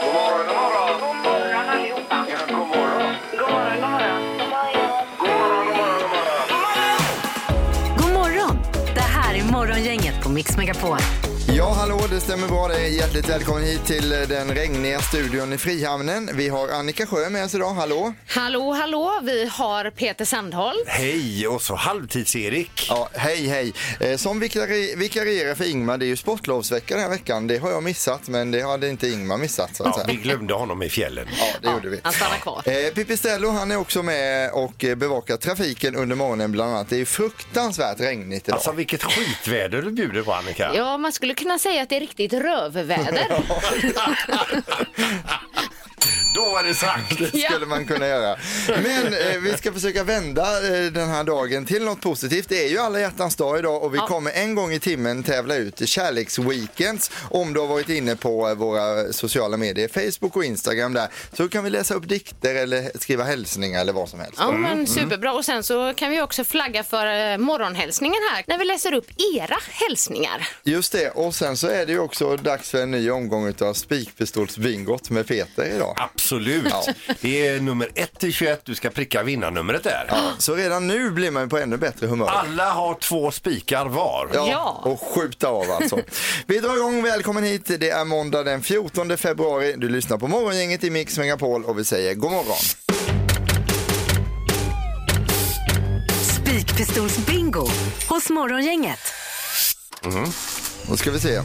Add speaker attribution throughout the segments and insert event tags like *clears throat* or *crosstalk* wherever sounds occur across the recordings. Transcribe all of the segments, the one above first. Speaker 1: God morgon, god morgon.
Speaker 2: God morgon allihopa.
Speaker 1: Ja, god morgon.
Speaker 2: God morgon, god morgon.
Speaker 1: God morgon, god morgon, god morgon.
Speaker 3: God morgon! Det här är Morgongänget på Mix Megapol.
Speaker 4: Ja, hallå, det stämmer bra. Det är hjärtligt välkommen hit till eh, den regniga studion i Frihamnen. Vi har Annika Sjö med oss idag, hallå.
Speaker 5: Hallå, hallå, vi har Peter Sandholt.
Speaker 6: Hej och så halvtids-Erik.
Speaker 4: Ja, hej, hej. Eh, Som vikari- vikarierar för Ingmar, det är ju sportlovsvecka den här veckan. Det har jag missat, men det hade inte Ingmar missat. Så att
Speaker 6: Ja, vi
Speaker 4: säga.
Speaker 6: glömde honom i fjällen.
Speaker 4: Ja, det gjorde vi.
Speaker 5: Han stannar kvar.
Speaker 4: Eh, Pipistrello han är också med och eh, bevakar trafiken under morgonen bland annat. Det är ju fruktansvärt regnigt idag.
Speaker 6: Alltså vilket skitväder du bjuder på Annika.
Speaker 5: Ja, man skulle kunna säga att det är riktigt rövväder.
Speaker 6: *laughs* Då var det sagt.
Speaker 4: Det skulle man kunna göra. Men eh, vi ska försöka vända eh, den här dagen till något positivt. Det är ju alla hjärtans dag idag och vi kommer en gång i timmen tävla ut kärleksweekends. Om du har varit inne på eh, våra sociala medier, Facebook och Instagram där, så kan vi läsa upp dikter eller skriva hälsningar eller vad som helst.
Speaker 5: Ja, men superbra. Och sen så kan vi också flagga för eh, morgonhälsningen här när vi läser upp era hälsningar.
Speaker 4: Just det, och sen så är det ju också dags för en ny omgång utav spikpistolsbingot med Peter idag.
Speaker 6: Absolut. Det är nummer 1 till 21. Du ska pricka vinnarnumret där.
Speaker 4: Så redan nu blir man ju på ännu bättre humör.
Speaker 6: Alla har två spikar var.
Speaker 4: Ja,
Speaker 5: Ja.
Speaker 4: och skjuta av alltså. Vi drar igång. Välkommen hit. Det är måndag den 14 februari. Du lyssnar på Morgongänget i Mix Megapol och vi säger god morgon.
Speaker 3: Spikpistolsbingo hos Morgongänget.
Speaker 4: Då ska vi se.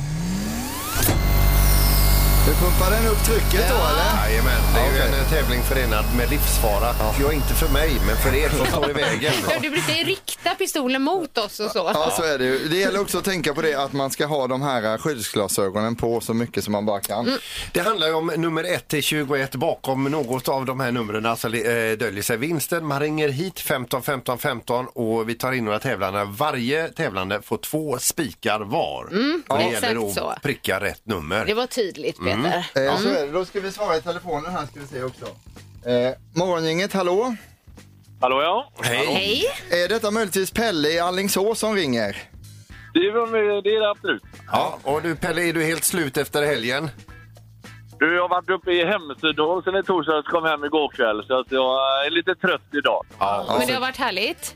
Speaker 4: Du pumpar den upp trycket då eller?
Speaker 6: Jajamän, det är ju
Speaker 4: Ja,
Speaker 6: en
Speaker 4: okej.
Speaker 6: eh, tävling förenad med livsfara. Jag är inte för mig, men för er som står i vägen.
Speaker 5: Ja, Du brukar ju rikta pistolen mot oss och så.
Speaker 4: Ja, alltså- så är det ju. Det gäller också att tänka på det att man ska ha de här eh, skyddsglasögonen på så mycket som man bara kan.
Speaker 6: Det handlar ju om nummer 1 till 21. Bakom något av de här numren så eh, döljer sig vinsten. Man ringer hit 15 15 15 och vi tar in några tävlande. Varje tävlande får två spikar var. och det
Speaker 5: Ja.
Speaker 6: gäller då
Speaker 5: Mm, exakt så.
Speaker 6: att pricka rätt
Speaker 5: Det
Speaker 6: nummer.
Speaker 5: var tydligt, Peter.
Speaker 4: Eh, Så är det. Då ska vi svara i telefonen här ska vi se också. Eh, morgongänget, hallå?
Speaker 7: Hallå ja.
Speaker 6: Hej!
Speaker 5: Hej!
Speaker 4: Är detta möjligtvis Pelle i Alingsås som ringer?
Speaker 7: Det är, det är det absolut.
Speaker 6: Ja, och du Pelle, är du helt slut efter helgen?
Speaker 7: Du, jag har varit uppe i Hemsedal sen i torsdags och kom hem igår kväll så att jag är lite trött idag.
Speaker 6: Ja,
Speaker 5: Men det har varit härligt.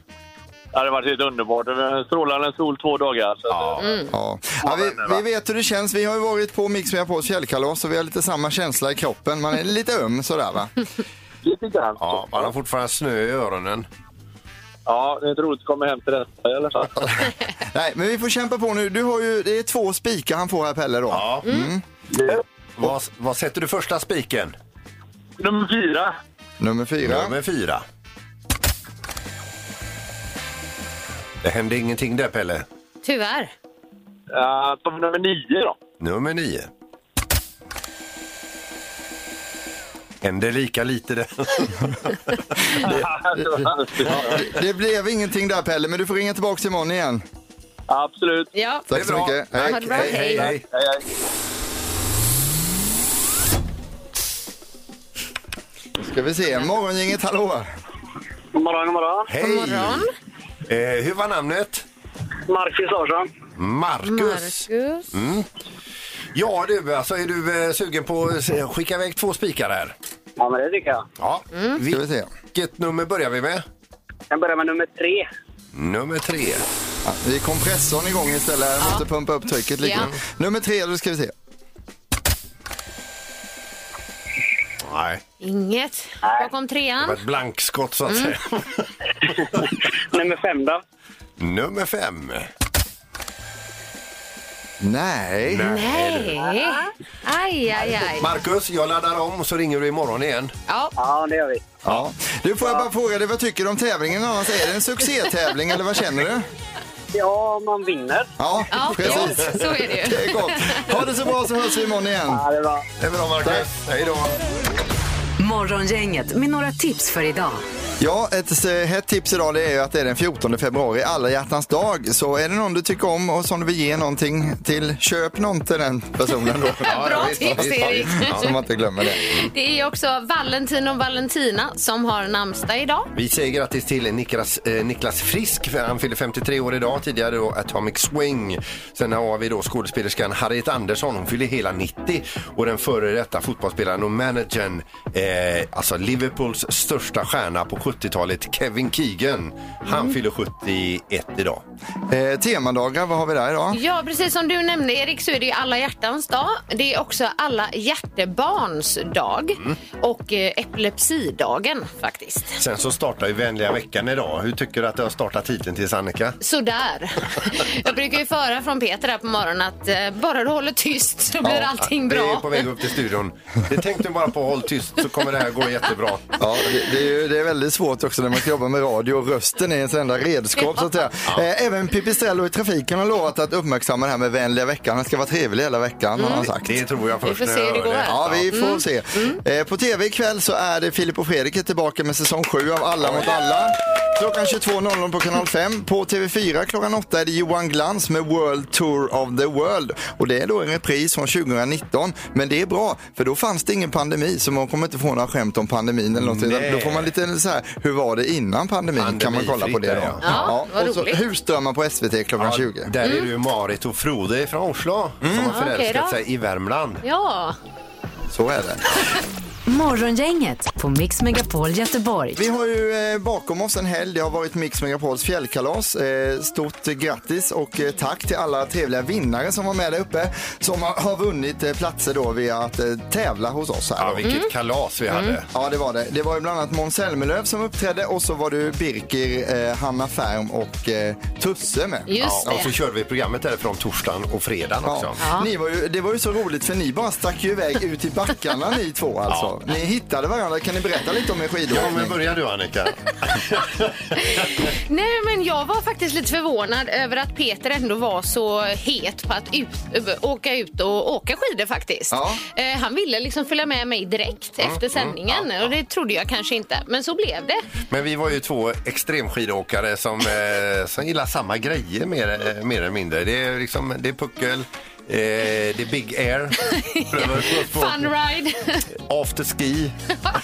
Speaker 7: Det hade varit helt underbart. Det var Strålande sol två dagar. Så att, Mm.
Speaker 4: Ja. Ja, vi, vi vet hur det känns. Vi har ju varit på Mix Megapols fjällkalas och vi har lite samma känsla i kroppen. Man är lite öm sådär va?
Speaker 7: Lite grann. Ja.
Speaker 6: ja, man har fortfarande snö i öronen.
Speaker 7: ja, det är inte roligt att komma hem till detta i alla *laughs* fall.
Speaker 4: Nej, men vi får kämpa på nu. Du har ju, det är två spikar han får här Pelle då.
Speaker 6: Ja.
Speaker 5: Mm.
Speaker 6: Mm. Vad, vad sätter du första spiken?
Speaker 7: Nummer fyra.
Speaker 4: Nummer fyra.
Speaker 6: Nummer fyra. Det hände ingenting där Pelle.
Speaker 5: Tyvärr.
Speaker 7: Uh, nummer nio *laughs* då.
Speaker 6: Nummer nio. Händer lika lite där.
Speaker 4: Det, det blev ingenting där Pelle, men du får ringa tillbaka imorgon igen.
Speaker 7: absolut.
Speaker 5: Ja.
Speaker 4: Tack så
Speaker 6: bra.
Speaker 4: mycket.
Speaker 5: Ha det bra. Hej.
Speaker 7: Hej, hej.
Speaker 4: Ska vi se, morgongänget hallå.
Speaker 8: God morgon, god morgon.
Speaker 6: Hej! Eh, hur var namnet?
Speaker 8: Marcus Larsson.
Speaker 6: Marcus.
Speaker 5: Marcus.
Speaker 4: Mm.
Speaker 6: Ja du, alltså är du eh, sugen på att se- skicka iväg två spikar här?
Speaker 8: Ja, men det tycker jag.
Speaker 6: Ja.
Speaker 4: Ska vi se.
Speaker 6: Vilket nummer börjar vi med?
Speaker 8: Jag börjar med nummer tre.
Speaker 6: Nummer tre.
Speaker 4: Ja, det är kompressorn igång istället. Jag måste pumpa upp trycket lite.
Speaker 5: Ja.
Speaker 4: Nummer tre, då ska vi se.
Speaker 6: Nej,
Speaker 5: Inget. Bakom
Speaker 6: det var
Speaker 5: trean.
Speaker 6: ett blankskott så att säga.
Speaker 8: *laughs* Nummer fem då?
Speaker 6: Nummer fem.
Speaker 4: Nej.
Speaker 5: Nej. Aj, aj, aj.
Speaker 6: Marcus, jag laddar om och så ringer du imorgon igen.
Speaker 5: Ja,
Speaker 8: Ja, det gör vi.
Speaker 4: Ja. Du får jag bara fråga dig, vad tycker du om tävlingen annars? Är det en succétävling eller vad känner du?
Speaker 8: Ja, man vinner.
Speaker 4: Ja,
Speaker 5: ja
Speaker 4: precis.
Speaker 5: jo, så är det ju.
Speaker 4: Det är gott. Ha det så bra så hörs vi imorgon igen.
Speaker 8: Ja, det är bra.
Speaker 6: Det är bra Marcus. Hej då.
Speaker 3: Morgongänget med några tips för idag.
Speaker 4: Ja, ett eh, hett tips idag det är ju att det är den 14 februari, alla hjärtans dag. Så är det någon du tycker om och som du vill ge någonting till, köp någon till den personen
Speaker 5: *laughs*
Speaker 4: då.
Speaker 5: Bra tips, Erik.
Speaker 4: Så man inte glömmer det.
Speaker 5: Det är också Valentin och Valentina som har namnsdag idag.
Speaker 6: Vi säger grattis till Niklas, eh, Niklas Frisk, för han fyller 53 år idag, tidigare då Atomic Swing. Sen har vi då skådespelerskan Harriet Andersson, hon fyller hela 90 och den före detta fotbollsspelaren och managern, eh, alltså Liverpools största stjärna på 70-talet, Kevin Keegan. Han fyller 71 idag.
Speaker 4: Eh, temadagar, vad har vi där idag?
Speaker 5: Ja, precis som du nämnde Erik så är det ju alla hjärtans dag. Det är också alla hjärtebarns dag
Speaker 6: Mm.
Speaker 5: och eh, epilepsidagen faktiskt.
Speaker 6: Sen så startar ju vänliga veckan idag. Hur tycker du att det har startat hittills Annika? *laughs*
Speaker 5: Sådär. Jag brukar ju föra från Peter här på morgonen att eh, bara du håller tyst så blir allting
Speaker 6: Det är
Speaker 5: bra.
Speaker 6: på väg upp till studion. Det tänkte bara på håll tyst så kommer det här gå jättebra.
Speaker 4: Ja, det, det, är ju, det är väldigt svårt också när man ska jobba med radio och rösten är ens enda redskap så att säga. Eh, Även Pipistrello i trafiken har lovat att uppmärksamma det här med vänliga veckan. Han ska vara trevlig hela veckan har
Speaker 6: Mm.
Speaker 4: han sagt.
Speaker 6: Det tror jag
Speaker 5: Vi
Speaker 6: först
Speaker 5: får se
Speaker 6: när jag
Speaker 5: hur det
Speaker 6: hör
Speaker 5: går här.
Speaker 4: Ja, vi får se. Eh, På tv ikväll så är det Filip och Fredrik är tillbaka med säsong 7 av Alla mot alla. Klockan 22.00 på kanal 5. På TV4 klockan 8 är det Johan Glans med World Tour of the World. Och det är då en repris från 2019. Men det är bra, för då fanns det ingen pandemi så man kommer inte få några skämt om pandemin eller något. utan
Speaker 6: Nej.
Speaker 4: Då får man lite så här, hur var det innan pandemin? kan man kolla på det då.
Speaker 6: Pandemifritt,
Speaker 5: ja. Ja, vad
Speaker 4: och så
Speaker 5: roligt.
Speaker 4: Husdrömmar på SVT klockan 20.
Speaker 6: Där är det ju Marit och Frode från Oslo som har
Speaker 5: Mm. Okej
Speaker 6: förälskat
Speaker 5: då.
Speaker 6: sig i Värmland.
Speaker 5: Ja,
Speaker 4: Så är det.
Speaker 3: Morgongänget på Mix Megapol Göteborg.
Speaker 4: Vi har ju eh, bakom oss en helg. Det har varit Mix Megapols fjällkalas. Eh, stort eh, grattis och eh, tack till alla trevliga vinnare som var med där uppe som har, har vunnit eh, platser då via att eh, tävla hos oss här.
Speaker 6: Ja,
Speaker 4: då.
Speaker 5: Mm.
Speaker 6: vilket kalas vi hade.
Speaker 4: Ja, det var det. Det var ju bland annat Måns Zelmerlöw som uppträdde och så var du Birker, eh, Hanna Färm och eh, Tusse med.
Speaker 5: just
Speaker 6: Ja, och så
Speaker 5: det.
Speaker 6: körde vi programmet därifrån torsdagen och fredagen också.
Speaker 4: Ja. Ni var ju, det var ju så roligt för ni bara stack ju iväg ut i backarna ni två alltså. Ni hittade varandra. Kan ni berätta lite om er
Speaker 6: Ja, men
Speaker 4: skidåkning?
Speaker 6: börja
Speaker 4: *laughs*
Speaker 6: du Annika.
Speaker 5: Nej, men jag var faktiskt lite förvånad över att Peter ändå var så het på att ut, ö- åka ut och åka skidor faktiskt.
Speaker 4: Ja.
Speaker 5: Eh, han ville liksom följa med mig direkt
Speaker 6: Mm,
Speaker 5: efter sändningen och det trodde jag kanske inte. Men så blev det.
Speaker 6: Men vi var ju två extremskidåkare som, eh, som gillar samma grejer mer, eh, mer eller mindre. Det är, liksom, det är puckel, eh, det är big
Speaker 5: *laughs*
Speaker 6: air, prövade vi oss på
Speaker 5: Funride.
Speaker 6: after
Speaker 5: *laughs*
Speaker 6: ski.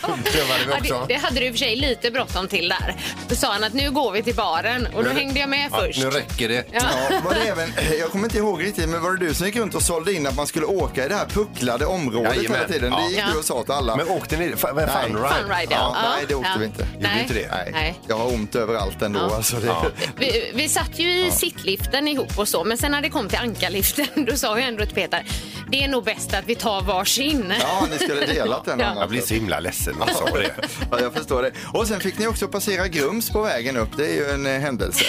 Speaker 6: prövade vi
Speaker 5: Ja, det,
Speaker 6: också.
Speaker 5: det hade du i och för sig lite bråttom till där. Då sa han att nu går vi till baren och då hängde jag med
Speaker 6: Ja,
Speaker 5: först.
Speaker 6: Nu räcker det.
Speaker 4: Ja, var det även, *clears throat* jag kommer inte ihåg riktigt, men var det du som gick runt och sålde in att man skulle åka i det här pucklade området
Speaker 6: Jajamän.
Speaker 4: hela tiden?
Speaker 6: Ja.
Speaker 4: Det gick du och sa till alla.
Speaker 6: Men åkte ni? Fan, vad är
Speaker 4: Nej.
Speaker 6: fan ride?
Speaker 5: Funride, ja.
Speaker 4: Ja, nej, det åkte vi inte. Gjorde
Speaker 5: Nej.
Speaker 6: inte det?
Speaker 5: Nej.
Speaker 4: Jag har ont överallt ändå.
Speaker 5: Ja.
Speaker 4: Alltså det...
Speaker 5: Vi, vi satt ju i sittliften ihop och så, men sen när det kom till ankarliften *laughs* då sa jag ändå till Peter, det är nog bäst att vi tar varsin. *laughs*
Speaker 4: Ja, ni skulle delat
Speaker 6: *laughs*
Speaker 4: den.
Speaker 5: Ja.
Speaker 4: annars.
Speaker 6: Jag blir så himla ledsen när jag sa det.
Speaker 4: Ja, jag förstår det. Och sen fick ni också passera Grums på vägen upp. Det är ju en eh, händelse.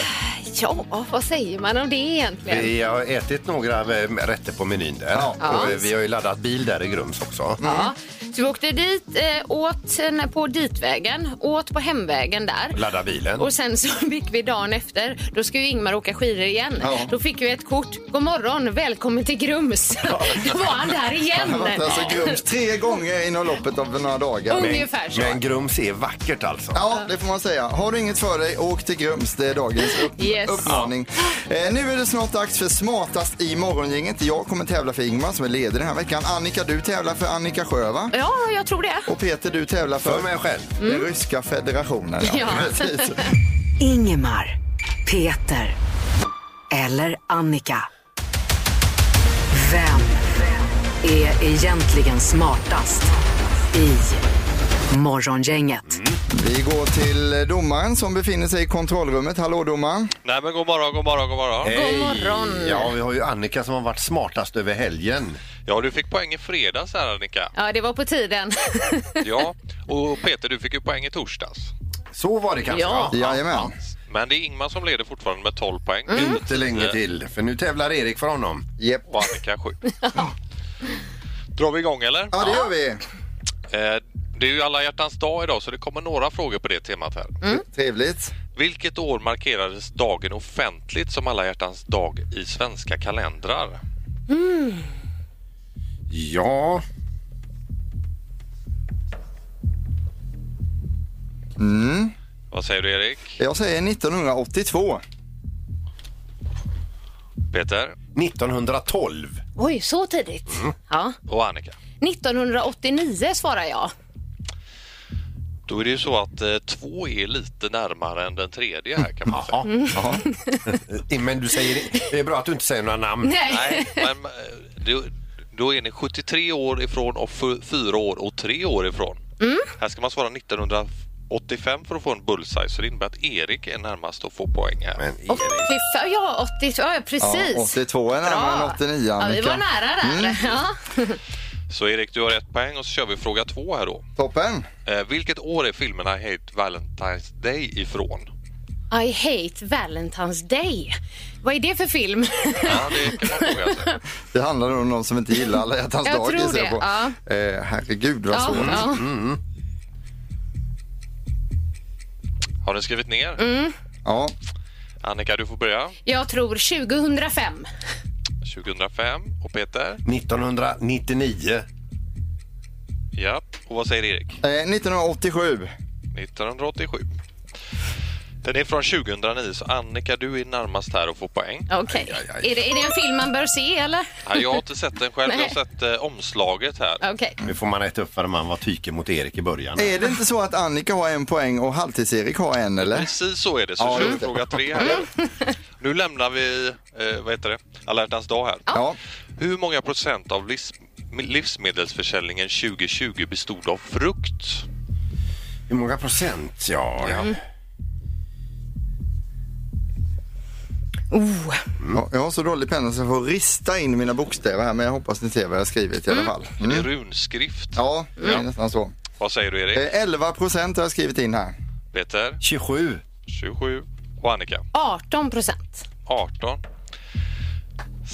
Speaker 5: Ja, vad säger man om det egentligen?
Speaker 6: Vi har ätit några eh, rätter på menyn där.
Speaker 4: Ja.
Speaker 6: Och eh, vi har ju laddat bil där i Grums också.
Speaker 5: Ja. Så vi åkte dit, eh, åt eh, på ditvägen, åt på hemvägen där.
Speaker 6: Ladda bilen.
Speaker 5: Och sen så *laughs* fick vi dagen efter, då ska ju Ingmar åka skidor igen.
Speaker 4: Ja.
Speaker 5: Då fick vi ett kort. God morgon, välkommen till Grums. *laughs* då var han där igen.
Speaker 4: Jag har varit alltså Grums tre gånger inom loppet av några dagar.
Speaker 5: Ungefär så.
Speaker 6: Men Grums är vackert alltså.
Speaker 4: Ja, det får man säga. Har du inget för dig, åk till Grums. Det är dagens upp-
Speaker 5: Yes.
Speaker 4: uppmaning. Eh, nu är det snart dags för smartast i morgongänget. Jag kommer tävla för Ingmar som är ledig den här veckan. Annika, du tävlar för Annika Sjö, va?
Speaker 5: Ja, jag tror det.
Speaker 4: Och Peter, du tävlar för,
Speaker 6: För mig själv.
Speaker 4: den ryska federationen.
Speaker 5: Ja.
Speaker 4: precis.
Speaker 3: Ingemar, Peter eller Annika. Vem är egentligen smartast i Morgongänget?
Speaker 4: Vi går till domaren som befinner sig i kontrollrummet. Hallå domaren.
Speaker 9: Nej men god morgon, god morgon, god morgon.
Speaker 6: Hej.
Speaker 5: morgon.
Speaker 6: Ja, vi har ju Annika som har varit smartast över helgen.
Speaker 9: Ja, du fick poäng i fredags här Annika.
Speaker 5: Ja, det var på tiden. *laughs*
Speaker 9: Ja, och Peter du fick ju poäng i torsdags.
Speaker 6: Så var det kanske
Speaker 5: Ja.
Speaker 6: va?
Speaker 4: Jajamän.
Speaker 9: Men det är Ingmar som leder fortfarande med 12 poäng
Speaker 4: Mm.
Speaker 6: Mm. Inte länge till, för nu tävlar Erik för honom.
Speaker 4: Yep.
Speaker 9: och Annika 7. Drar vi igång eller?
Speaker 4: Ja, det gör vi.
Speaker 9: Eh, Det är ju alla hjärtans dag idag så det kommer några frågor på det temat här.
Speaker 4: Mm. Trevligt.
Speaker 9: Vilket år markerades dagen offentligt som alla hjärtans dag i svenska kalendrar?
Speaker 6: Ja.
Speaker 9: Vad säger du Erik?
Speaker 4: Jag säger 1982.
Speaker 9: Peter?
Speaker 6: 1912.
Speaker 5: Oj, så tidigt? Ja.
Speaker 9: Och Annika?
Speaker 5: 1989 svarar jag.
Speaker 9: Då är det ju så att eh, två är lite närmare än den tredje här kan man säga.
Speaker 6: Ja. ja. Eh, Men du säger, det är bra att du inte säger några namn.
Speaker 9: Nej, men eh, då- då är ni 73 år ifrån och f- fyra år och tre år ifrån. Här ska man svara 1985 för att få en bullseye så det innebär att Erik är närmast att få poäng här.
Speaker 6: Men
Speaker 5: Och
Speaker 6: Erik,
Speaker 5: vi för- *laughs* Ja, 80, ja precis.
Speaker 4: Ja, 82 är närmare
Speaker 5: Bra.
Speaker 4: än 89,
Speaker 5: Ja, vi
Speaker 4: Annika. Mm.
Speaker 5: var nära där. Ja.
Speaker 9: Så Erik, du har ett poäng och så kör vi fråga två här då.
Speaker 4: Toppen.
Speaker 9: Eh, vilket år är filmerna Hate Valentine's Day ifrån?
Speaker 5: I hate Valentine's Day. Vad är det för film?
Speaker 9: Ja, det kan man fråga sig.
Speaker 4: Det handlar nog om någon som inte gillar alla hjärtans
Speaker 5: *laughs* Jag
Speaker 4: dag
Speaker 5: tror
Speaker 4: gissar jag
Speaker 5: det,
Speaker 4: på. Eh, herregud vad
Speaker 5: Ja,
Speaker 4: svårt.
Speaker 5: ja.
Speaker 9: Har ni skrivit ner?
Speaker 4: Ja.
Speaker 9: Annika, du får börja.
Speaker 5: Jag tror 2005.
Speaker 9: 2005. Och Peter?
Speaker 6: 1999.
Speaker 9: Ja. Och vad säger Erik?
Speaker 4: Eh, 1987.
Speaker 9: 1987. Den är från 2009, så Annika, du är närmast här och får poäng.
Speaker 5: Okej. Är, det, är det en film man bör se eller?
Speaker 9: Ja, jag har inte sett den själv, jag
Speaker 5: Nej.
Speaker 9: har sett eh, omslaget här.
Speaker 5: Okej.
Speaker 6: Nu får man äta upp för att man var tyken mot Erik i början.
Speaker 4: Är det inte så att Annika har en poäng och halvtids-Erik har en eller?
Speaker 9: Precis så är det, så
Speaker 4: Ja,
Speaker 9: kör vi
Speaker 4: just det.
Speaker 9: fråga tre här. Nu lämnar vi, eh, vad heter det, Alla hjärtans dag här.
Speaker 4: Ja.
Speaker 9: Hur många procent av livs, livsmedelsförsäljningen 2020 bestod av frukt?
Speaker 6: Hur många procent? Ja, ja.
Speaker 9: Mm.
Speaker 4: Ja, Jag har så dålig penna så jag får rista in mina bokstäver här men jag hoppas ni ser vad jag har skrivit i alla fall.
Speaker 9: Det är
Speaker 4: Mm.
Speaker 9: runskrift.
Speaker 4: Ja, det är nästan så.
Speaker 9: Vad säger du Erik?
Speaker 4: Eh, 11 procent har jag skrivit in här.
Speaker 9: Peter?
Speaker 6: 27.
Speaker 9: 27. Och Annika?
Speaker 5: 18 procent.
Speaker 9: 18.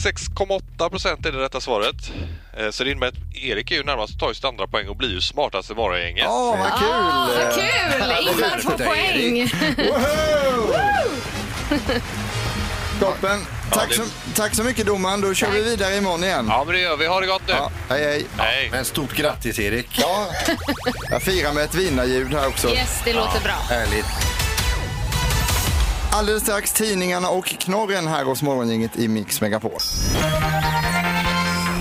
Speaker 9: 6,8 procent är det rätta svaret. Eh, Så det innebär att Erik är ju närmast och tar just andra poäng och blir ju smartast i varagänget.
Speaker 4: Åh, vad
Speaker 5: Ah,
Speaker 4: kul!
Speaker 5: vad kul! Ingvar får poäng.
Speaker 4: Woho! Toppen! Tack,
Speaker 9: det-
Speaker 4: så, tack så mycket domaren, då kör vi vidare imorgon igen.
Speaker 9: Ja, men det gör vi. Ha det gott nu!
Speaker 4: Ja, hej hej!
Speaker 9: Hej!
Speaker 6: Men stort grattis Erik.
Speaker 4: Ja, jag firar med ett vinnarljud här också.
Speaker 5: Yes, det låter bra.
Speaker 6: Härligt.
Speaker 4: Alldeles strax tidningarna och knorren här hos Morgongänget i Mix Megapol.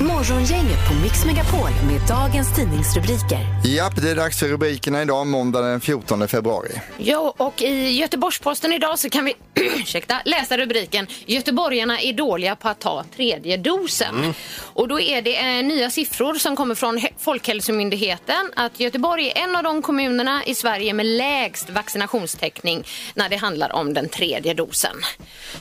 Speaker 3: Morgongänget på Mix Megapol med dagens tidningsrubriker.
Speaker 4: Japp, det är dags för rubrikerna idag, måndag den 14 februari.
Speaker 5: Ja, och i Göteborgs-Posten idag så kan vi *clears throat* ursäkta, läsa rubriken Göteborgarna är dåliga på att ta tredje dosen. Och då är det eh, nya siffror som kommer från He- Folkhälsomyndigheten att Göteborg är en av de kommunerna i Sverige med lägst vaccinationstäckning när det handlar om den tredje dosen.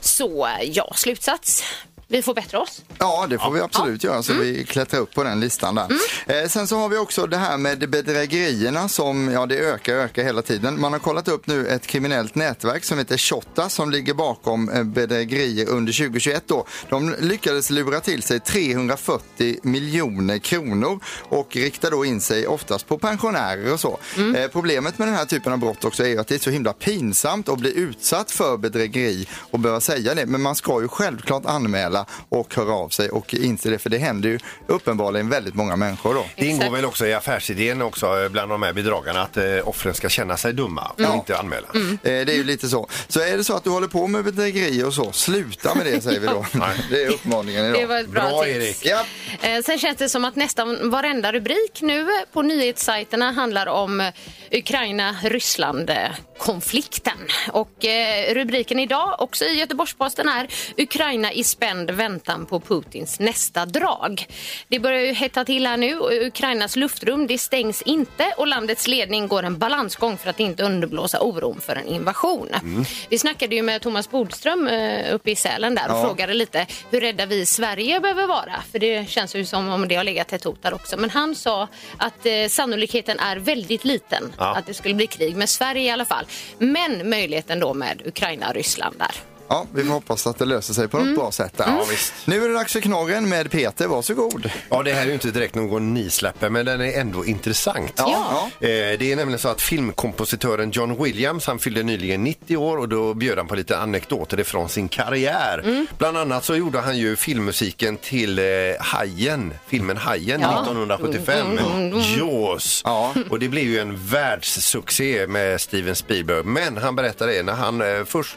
Speaker 5: Så eh, ja, slutsats. Vi får bättre oss.
Speaker 4: Ja, Mm. det får vi absolut göra så vi klättrar upp på den listan där. Eh, sen så har vi också det här med bedrägerierna som, ja det ökar ökar hela tiden. Man har kollat upp nu ett kriminellt nätverk som heter Shotta som ligger bakom eh, bedrägerier under 2021 då. De lyckades lura till sig 340 miljoner kronor och riktar då in sig oftast på pensionärer och så.
Speaker 5: Mm.
Speaker 4: Eh, problemet med den här typen av brott också är ju att det är så himla pinsamt att bli utsatt för bedrägeri och behöva säga det. Men man ska ju självklart anmäla och höra av sig och inse det för det händer ju uppenbarligen väldigt många människor då. Eh,
Speaker 6: Det ingår
Speaker 5: Exakt.
Speaker 6: väl också i affärsidén också eh, bland de här bedragarna att eh, offren ska känna sig dumma och inte anmäla.
Speaker 4: Eh, Det är ju lite så. Så är det så att du håller på med bedrägerier och så, sluta med det säger vi
Speaker 5: *laughs*
Speaker 4: då. Det är uppmaningen idag.
Speaker 5: Det var ett bra,
Speaker 6: Bra,
Speaker 5: tips.
Speaker 6: Erik.
Speaker 4: Ja.
Speaker 5: Eh, Sen känns det som att nästan varenda rubrik nu på nyhetssajterna handlar om eh, Ukraina-Ryssland-konflikten. Och eh, rubriken idag, också i Göteborgs-Posten, är Ukraina i spänd väntan på Putins nästa drag. Det börjar ju hetta till här nu. och Ukrainas luftrum det stängs inte och landets ledning går en balansgång för att inte underblåsa oron för en invasion. Vi snackade ju med Thomas Bodström eh, uppe i Sälen där och
Speaker 4: Ja.
Speaker 5: frågade lite hur rädda vi i Sverige behöver vara. För det känns ju som om det har legat ett hot där också. Men han sa att eh, sannolikheten är väldigt liten
Speaker 6: Ja.
Speaker 5: att det skulle bli krig med Sverige i alla fall. Men möjligheten då med Ukraina och Ryssland där.
Speaker 4: Ja, vi får hoppas att det löser sig på
Speaker 5: Mm.
Speaker 4: något bra sätt. Där.
Speaker 6: Ja, visst.
Speaker 4: Nu är det dags för knorren med Peter, varsågod.
Speaker 6: Ja, det här är ju inte direkt någon nisläppe, men den är ändå intressant.
Speaker 4: Ja.
Speaker 6: Eh, Det är nämligen så att filmkompositören John Williams, han fyllde nyligen 90 år och då bjöd han på lite anekdoter ifrån sin karriär.
Speaker 4: Mm.
Speaker 6: Bland annat så gjorde han ju filmmusiken till eh, Hajen, filmen Hajen 1975, Jaws.
Speaker 4: Mm, Ja.
Speaker 6: Och det blev ju en världssuccé med Steven Spielberg. Men han berättar det, när han eh, först,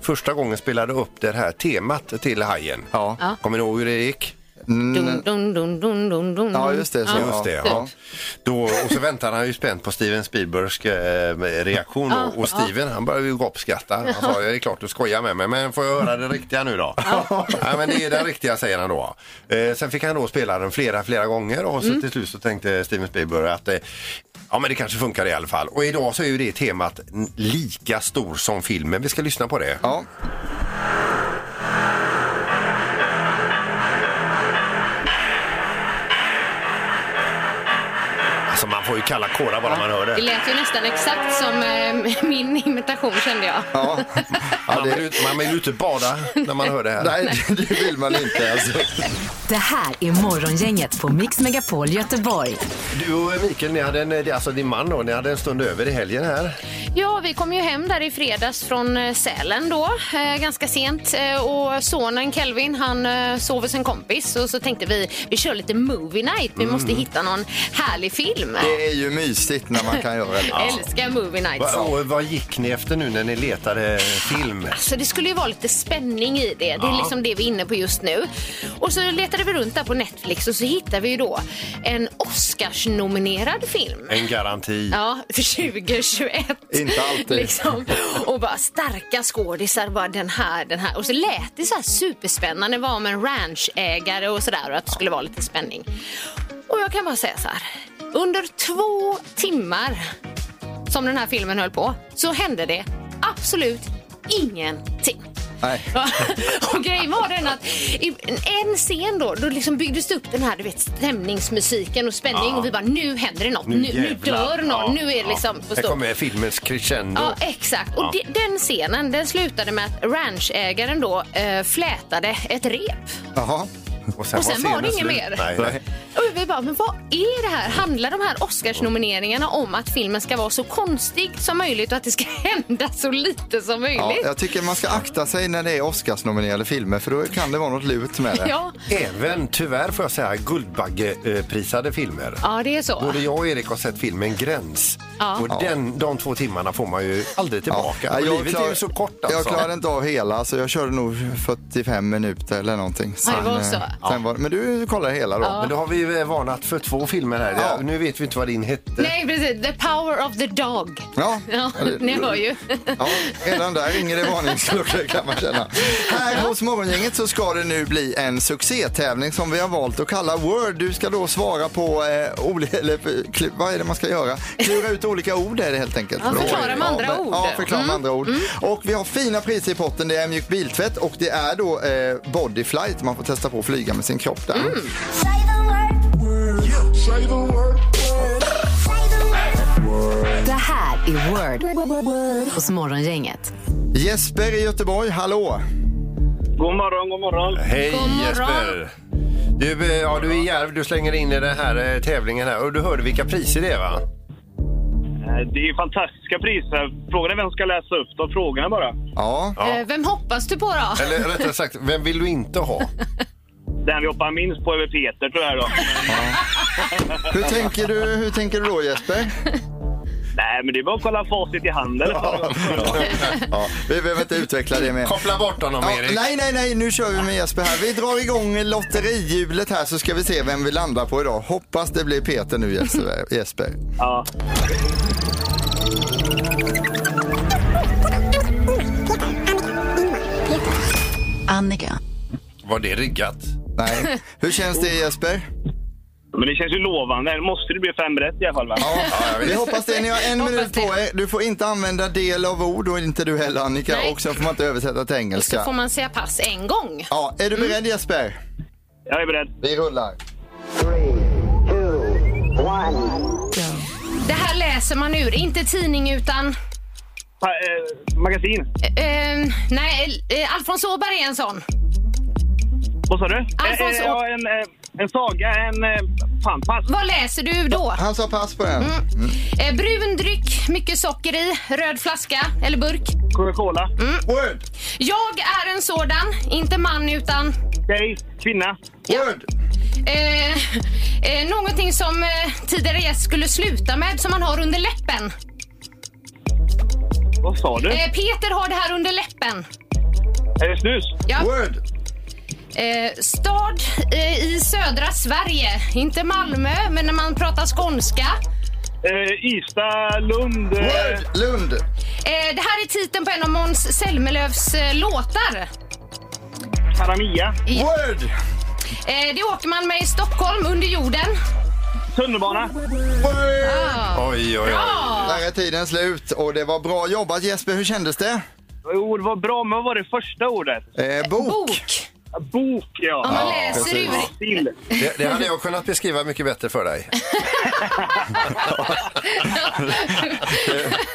Speaker 6: första gången spelade upp det här temat till Hajen.
Speaker 4: Ja. Ja.
Speaker 6: Kommer ni ihåg hur det gick?
Speaker 5: Dun, dun, dun, dun, dun, dun.
Speaker 4: Mm. Ja, just det. Så,
Speaker 6: Mm. Just det, ja.
Speaker 4: ja.
Speaker 6: Då, och så väntar han ju spänt på Steven Spielbergs eh, reaktion då. och Steven han började ju gapskratta. Han sa, ja det är klart du skojar med mig men får jag höra det riktiga nu då? *laughs* Nej men det är den riktiga säger han då. Eh, sen fick han då spela den flera, flera gånger och
Speaker 4: Mm.
Speaker 6: så till slut så tänkte Steven Spielberg att eh, ja men det kanske funkar i alla fall. Och idag så är ju det temat n- lika stor som filmen. Vi ska lyssna på det.
Speaker 4: Ja.
Speaker 6: Alltså man får ju kalla kårar bara man hör
Speaker 5: Det
Speaker 6: det.
Speaker 5: lät ju nästan exakt som eh, *laughs* min imitation kände jag.
Speaker 4: Ja. Ja,
Speaker 6: Man vill,
Speaker 4: det,
Speaker 6: ju- man vill ju inte bada när man hör det här.
Speaker 4: *laughs* nej, det vill man inte. Alltså.
Speaker 3: Det här är Morgongänget på Mix Megapol Göteborg.
Speaker 6: Du och Mikael, ni hade en, alltså din man då, ni hade en stund över i helgen här.
Speaker 5: Ja, vi kom ju hem där i fredags från eh, Sälen då, eh, ganska sent. Eh, och sonen Kelvin, han eh, sov hos en kompis och så tänkte vi, vi kör lite movie night. Vi måste hitta någon härlig film.
Speaker 4: Det är ju mysigt när man kan göra det.
Speaker 5: Älskar movie nights.
Speaker 6: Va, och vad gick ni efter nu när ni letade film?
Speaker 5: Så det skulle ju vara lite spänning i det. Det är liksom det vi är inne på just nu. Och så letade vi runt där på Netflix och så hittade vi ju då en Oscars-nominerad film.
Speaker 6: En garanti.
Speaker 5: Ja, för 2021.
Speaker 4: Inte alltid.
Speaker 5: Liksom. Och bara starka skådisar, bara den här, den här. Och så lät det så här superspännande. Det var om en ranchägare och sådär och att det skulle vara lite spänning. Och jag kan bara säga så här. Under två timmar som den här filmen höll på så hände det absolut ingenting.
Speaker 4: Nej.
Speaker 5: Ja, *laughs* och grejen var den att i en scen då, då liksom byggdes det upp den här du vet, stämningsmusiken och spänning och vi bara nu händer det något, nu, nu,
Speaker 6: jävlar.
Speaker 5: dör någon,
Speaker 6: Ja,
Speaker 5: nu är det
Speaker 6: ja.
Speaker 5: liksom
Speaker 6: Här kommer filmens crescendo.
Speaker 5: Ja, exakt. Och
Speaker 6: Ja.
Speaker 5: de- den scenen den slutade med att ranchägaren då eh, flätade ett rep.
Speaker 4: Jaha.
Speaker 5: och sen var det
Speaker 6: scenen
Speaker 5: inget
Speaker 6: slut.
Speaker 5: mer.
Speaker 6: Nej, nej.
Speaker 5: Och vi bara, men vad är det här? Handlar de här Oscarsnomineringarna om att filmen ska vara så konstig som möjligt och att det ska *laughs* hända så lite som
Speaker 4: Ja,
Speaker 5: möjligt?
Speaker 4: jag tycker man ska akta sig när det är Oscarsnominerade filmer för då kan det vara något lut med det.
Speaker 5: Ja,
Speaker 6: Även, tyvärr får jag säga, Guldbaggeprisade filmer.
Speaker 5: ja det är så.
Speaker 6: Både jag och Erik har sett filmen Gräns.
Speaker 5: Ja.
Speaker 6: Och den, de två timmarna får man ju aldrig tillbaka.
Speaker 4: Ja,
Speaker 6: Och
Speaker 4: jag
Speaker 6: livet
Speaker 4: klar-
Speaker 6: är ju så kort alltså.
Speaker 4: Jag klarade inte av hela, så jag körde nog 45 minuter eller någonting.
Speaker 5: Ja, det var
Speaker 4: eh,
Speaker 5: så.
Speaker 4: sen var, men du kollar hela då?
Speaker 6: Men då har vi ju varnat för två filmer här.
Speaker 4: Ja.
Speaker 6: Nu vet vi inte vad din hette.
Speaker 5: Nej, precis. The power of the dog.
Speaker 4: Ja.
Speaker 5: Ja, ni hör ju.
Speaker 4: Ja, redan där ringer det varningsklockor kan man känna. Här hos Morgongänget så ska det nu bli en succétävling som vi har valt att kalla Word. Du ska då svara på, eh, oli- eller, eh, kl- vad är det man ska göra? Klura ut olika ord är det helt enkelt.
Speaker 5: Ja, förklara med andra
Speaker 4: ja, men-
Speaker 5: ord. Mm.
Speaker 4: Ja, förklara med andra ord. Och vi har fina priser i potten. Det är mjuk biltvätt och det är då eh, bodyflight. Man får testa på att flyga med sin kropp där.
Speaker 5: Mm.
Speaker 3: Det här är Word hos Morgongänget.
Speaker 4: Jesper i Göteborg, hallå!
Speaker 8: God morgon, god morgon.
Speaker 6: Hej
Speaker 5: God morgon.
Speaker 6: Jesper! Du, eh, ja, du är djärv, du slänger in i den här eh, tävlingen här och du hörde vilka priser det är va?
Speaker 8: Eh, Det är ju fantastiska priser. Frågan är vem som ska läsa upp de frågorna bara.
Speaker 4: Ja,
Speaker 6: Ja.
Speaker 5: Eh, Vem hoppas du på då?
Speaker 6: Eller rättare sagt, vem vill du inte ha?
Speaker 8: Den vi hoppar minst på är väl Peter tyvärr då.
Speaker 4: hur tänker du, hur tänker du då Jesper?
Speaker 8: Nej, men det är bara att kolla facit i handen.
Speaker 4: Ja, vi behöver inte utveckla det mer.
Speaker 6: Koppla bort honom
Speaker 4: Ja,
Speaker 6: Erik!
Speaker 4: nej, nej, nej, nu kör vi med Jesper här. Vi drar igång lotterihjulet här så ska vi se vem vi landar på idag. Hoppas det blir Peter nu Jesper.
Speaker 5: *laughs*
Speaker 4: Jesper.
Speaker 8: *laughs* Ja.
Speaker 10: Annika.
Speaker 6: Var det riggat?
Speaker 4: Nej. Hur känns det Jesper?
Speaker 8: Men det känns ju lovande. Måste det bli fem rätt i alla fall va?
Speaker 4: Ja, vi hoppas det. Ni har en
Speaker 5: Hoppas
Speaker 4: minut på
Speaker 5: det.
Speaker 4: er. Du får inte använda del av ord och inte du heller Annika.
Speaker 5: Nej.
Speaker 4: Och sen får man inte översätta till
Speaker 5: Och så får
Speaker 4: engelska.
Speaker 5: man Mm. säga pass en gång.
Speaker 4: Ja, är du beredd Jesper?
Speaker 8: Jag är beredd.
Speaker 4: Vi rullar.
Speaker 5: Det här läser man ur, inte tidning utan...
Speaker 8: pa, eh, magasin.
Speaker 5: Eh, nej, eh, Alfons Åberg är en sån.
Speaker 8: Vad sa du?
Speaker 5: Alfons
Speaker 8: Eh, eh, ja, en, eh, en saga, en... Eh, fan, pass.
Speaker 5: Vad läser du då?
Speaker 4: Han sa pass på den.
Speaker 5: Eh, brun dryck, mycket socker i, röd flaska eller burk.
Speaker 8: Coca-Cola.
Speaker 4: Word!
Speaker 5: Jag är en sådan, inte man utan
Speaker 8: Tjej, kvinna.
Speaker 4: Word!
Speaker 5: eh, eh, någonting som eh, tidigare gäst skulle sluta med som man har under läppen.
Speaker 8: Vad sa du?
Speaker 5: Eh, Peter har det här under läppen.
Speaker 8: Är det snus?
Speaker 5: Ja.
Speaker 4: Word!
Speaker 5: Eh, stad eh, i södra Sverige, inte Malmö, men när man pratar skånska.
Speaker 8: Eh, Ystad, Lund. Eh,
Speaker 4: Word! Lund!
Speaker 5: Eh, det här är titeln på en av Måns Zelmerlöws eh, låtar.
Speaker 8: Karamia.
Speaker 4: Word!
Speaker 5: Eh, det åker man med i Stockholm, under jorden.
Speaker 8: Tunnelbana.
Speaker 4: Word!
Speaker 6: Oj, oj, oj.
Speaker 5: Ah.
Speaker 4: Där är tiden slut och det var bra jobbat Jesper. Hur kändes det?
Speaker 8: Jo, det var bra, men vad var det första ordet?
Speaker 4: Eh, bok.
Speaker 5: Bok.
Speaker 8: Bok,
Speaker 5: Om man
Speaker 8: ja.
Speaker 5: läser ur.
Speaker 8: Sill.
Speaker 6: Det, det hade jag kunnat beskriva mycket bättre för dig.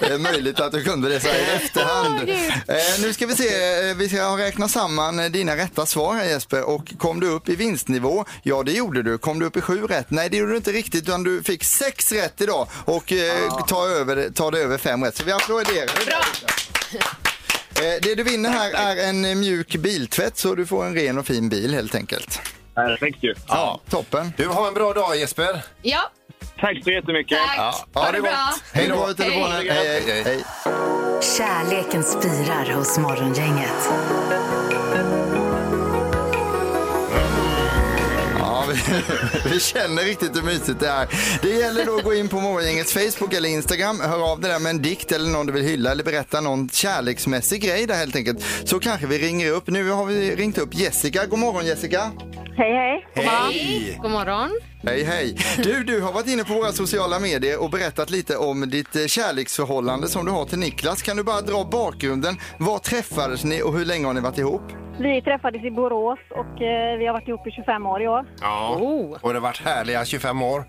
Speaker 4: Det är möjligt att du kunde det så här i efterhand. Eh, nu ska vi se, eh, vi ska räkna samman eh, dina rätta svar här Jesper. Och kom du upp i vinstnivå? Ja det gjorde du. Kom du upp i sju rätt? Nej det gjorde du inte riktigt utan du fick sex rätt idag och eh, tar över, tar det över fem rätt. Så vi applåderar.
Speaker 5: Ah. Bra.
Speaker 4: Eh, det du vinner här är en eh, mjuk biltvätt så du får en ren och fin bil helt enkelt.
Speaker 8: Perfekt ju.
Speaker 4: Ja, toppen.
Speaker 6: Du, har en bra dag Jesper.
Speaker 5: Ja,
Speaker 8: Tack så jättemycket.
Speaker 5: tack. ha det bra.
Speaker 4: Hej då i telefonen.
Speaker 5: Hej.
Speaker 4: Hej, hej, hej.
Speaker 3: Kärleken spirar hos Morgongänget.
Speaker 4: Ja, vi, *laughs* vi känner riktigt hur mysigt det är. Det gäller då att gå in på Morgongängets Facebook eller Instagram. Hör av dig där med en dikt eller någon du vill hylla eller berätta någon kärleksmässig grej där helt enkelt. Så kanske vi ringer upp. Nu har vi ringt upp Jessica. God morgon Jessica.
Speaker 2: Hej, hej.
Speaker 6: Hej!
Speaker 5: God morgon.
Speaker 4: Hej hej. Du, du har varit inne på våra sociala medier och berättat lite om ditt eh, kärleksförhållande som du har till Niklas. Kan du bara dra bakgrunden? Var träffades ni och hur länge har ni varit ihop?
Speaker 2: Vi träffades i Borås och eh, vi har varit ihop i 25 år i år.
Speaker 6: Ja.
Speaker 5: Oh.
Speaker 6: Och det har varit härliga 25 år.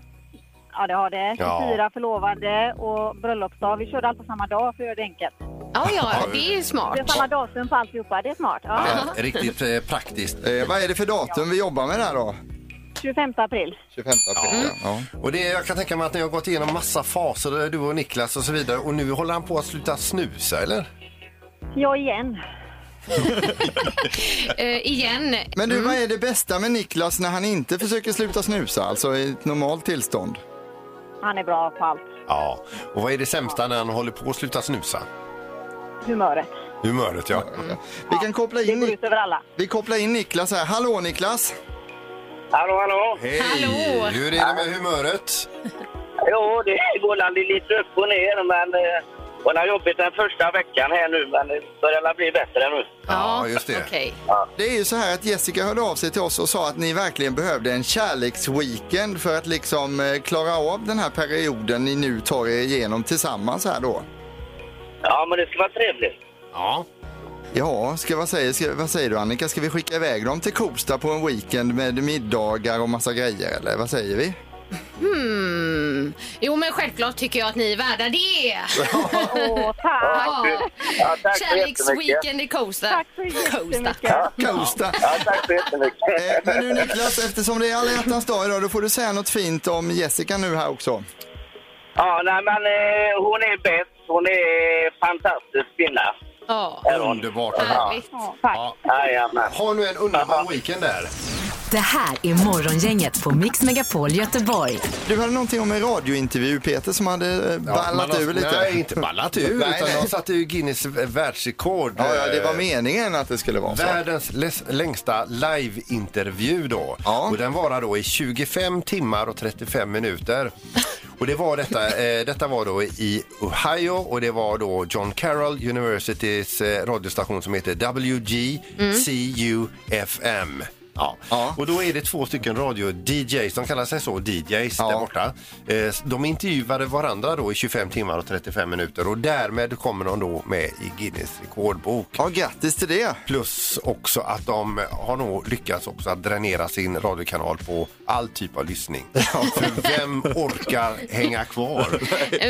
Speaker 2: Ja, det har det.
Speaker 6: Ja.
Speaker 2: 24 förlovade och bröllopsdag. Vi körde allt på samma dag för att göra det enkelt.
Speaker 5: Ja, ja, det är ju
Speaker 2: Det är
Speaker 5: smart.
Speaker 2: samma datum på alltihopa. Det är smart. Ja.
Speaker 6: Eh, Riktigt eh, praktiskt.
Speaker 4: Eh, vad är det för datum vi jobbar med där då?
Speaker 2: 25 april.
Speaker 4: 25 april. Ja. Ja.
Speaker 6: Och det, jag kan tänka mig att ni har gått igenom massa faser, eh, du och Niklas och så vidare. Och nu håller han på att sluta snusa, eller?
Speaker 2: Jag igen.
Speaker 5: Eh, igen.
Speaker 4: Men
Speaker 2: Mm.
Speaker 4: du, vad är det bästa med Niklas när han inte försöker sluta snusa, alltså i ett normalt tillstånd?
Speaker 2: Han är bra på allt.
Speaker 6: Ja. Och vad är det sämsta när han håller på att sluta snusa?
Speaker 2: Humöret.
Speaker 6: Humöret, ja.
Speaker 4: Vi kan koppla
Speaker 2: Det
Speaker 4: in,
Speaker 2: går
Speaker 4: Ni-
Speaker 2: ut över alla.
Speaker 4: vi kopplar in Niklas här. Hallå Niklas!
Speaker 8: Hallå, hallå.
Speaker 6: Hej!
Speaker 5: Hallå!
Speaker 6: Hur är det med humöret?
Speaker 8: Jo, det går väl lite upp och ner, men... eh, Hon har jobbigt den första veckan här nu, men det börjar väl bli bättre nu.
Speaker 6: Ja, just det.
Speaker 5: okej.
Speaker 4: Det är ju så här att Jessica hörde av sig till oss och sa att ni verkligen behövde en kärleksweekend för att liksom eh, klara av den här perioden ni nu tar er igenom tillsammans här då.
Speaker 8: Ja, men det ska vara trevligt.
Speaker 6: Ja.
Speaker 4: Ja, ska, vad, säger, ska, vad säger du Annika? Ska vi skicka iväg dem till Kosta på en weekend med middagar och massa grejer eller vad säger vi?
Speaker 5: Mm. Jo, men självklart tycker jag att ni är värda det.
Speaker 2: Åh,
Speaker 11: *laughs*
Speaker 2: tack!
Speaker 5: Ja.
Speaker 8: Ja, tack så jättemycket.
Speaker 5: Kärleksweekend i Costa.
Speaker 2: Tack så jättemycket.
Speaker 4: Kosta!
Speaker 8: Ja, tack så jättemycket.
Speaker 4: Eh, Men du Niklas, eftersom det är alla hjärtans dag idag, då får du säga något fint om Jessica nu här också.
Speaker 8: Ja, nej, men eh, hon är bäst. Hon är fantastisk kvinna.
Speaker 5: Ja,
Speaker 8: Är hon.
Speaker 6: Underbart.
Speaker 5: härligt.
Speaker 2: Ja, tack.
Speaker 6: Ja.
Speaker 8: Jajamän.
Speaker 6: Ha nu en underbar weekend där.
Speaker 3: Det här är Morgongänget på Mix Megapol Göteborg.
Speaker 4: Du hade någonting om en radiointervju Peter som hade eh, ballat
Speaker 6: man har-
Speaker 4: ur lite.
Speaker 6: Nej, inte ballat ur,
Speaker 4: Nej,
Speaker 6: utan
Speaker 4: nej.
Speaker 6: de satte ju Guinness världsrekord.
Speaker 4: Ja, ja, det var
Speaker 6: eh,
Speaker 4: meningen att det skulle vara så.
Speaker 6: Världens les- längsta liveintervju då.
Speaker 4: Ja.
Speaker 6: Och den varar då i 25 timmar och 35 minuter. Och det var detta, eh, detta var då i Ohio och det var då John Carroll Universitys eh, radiostation som heter WGCUFM. Ja.
Speaker 4: Ja.
Speaker 6: Och då är det två stycken radio-DJs, de kallar sig så, DJs
Speaker 4: Ja.
Speaker 6: där borta. Eh, De intervjuade varandra då i 25 timmar och 35 minuter och därmed kommer de då med i Guinness rekordbok.
Speaker 4: Ja, grattis till det.
Speaker 6: Plus också att de har nog lyckats också att dränera sin radiokanal på all typ
Speaker 4: *laughs*
Speaker 6: av lyssning. För vem orkar hänga kvar?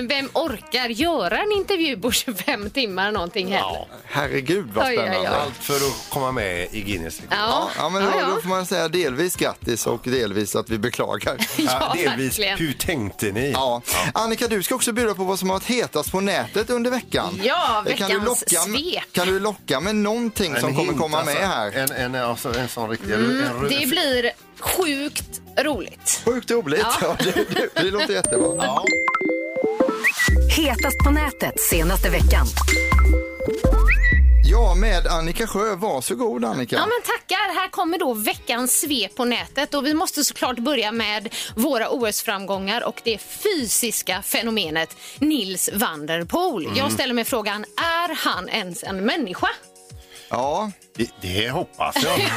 Speaker 5: Vem orkar göra en intervju på 25 timmar någonting heller?
Speaker 6: Ja,
Speaker 4: Herregud vad
Speaker 5: Oj, oj, oj.
Speaker 4: spännande. Ja,
Speaker 6: allt för att komma med i Guinness liksom. rekord.
Speaker 5: Ja,
Speaker 4: men då, då får man säga delvis grattis och delvis att vi beklagar.
Speaker 5: *laughs* Ja,
Speaker 6: delvis,
Speaker 5: verkligen.
Speaker 6: hur tänkte ni?
Speaker 4: Ja. Annika, du ska också bjuda på vad som har varit hetast på nätet under veckan. Eh,
Speaker 5: Ja,
Speaker 4: kan du
Speaker 5: veckans
Speaker 4: locka,
Speaker 5: svep.
Speaker 4: Kan du locka med någonting
Speaker 6: En
Speaker 4: som kommer
Speaker 6: hint,
Speaker 4: komma
Speaker 6: alltså.
Speaker 4: med här?
Speaker 6: En, en, alltså, en sån riktig... en röd-
Speaker 5: Mm, Det blir sjukt roligt.
Speaker 4: Sjukt roligt. Ja. det, det, det låter jättebra.
Speaker 6: Ja.
Speaker 3: Hetast på nätet senaste veckan.
Speaker 4: Ja, med Annika Sjö. Varsågod Annika.
Speaker 5: Ja. men tackar. Här kommer då veckans svep på nätet och vi måste såklart börja med våra OS-framgångar och det fysiska fenomenet Nils van der Poel. Jag ställer mig frågan, är han ens en människa?
Speaker 4: ja.
Speaker 6: Det, det hoppas
Speaker 5: *laughs*
Speaker 6: jag.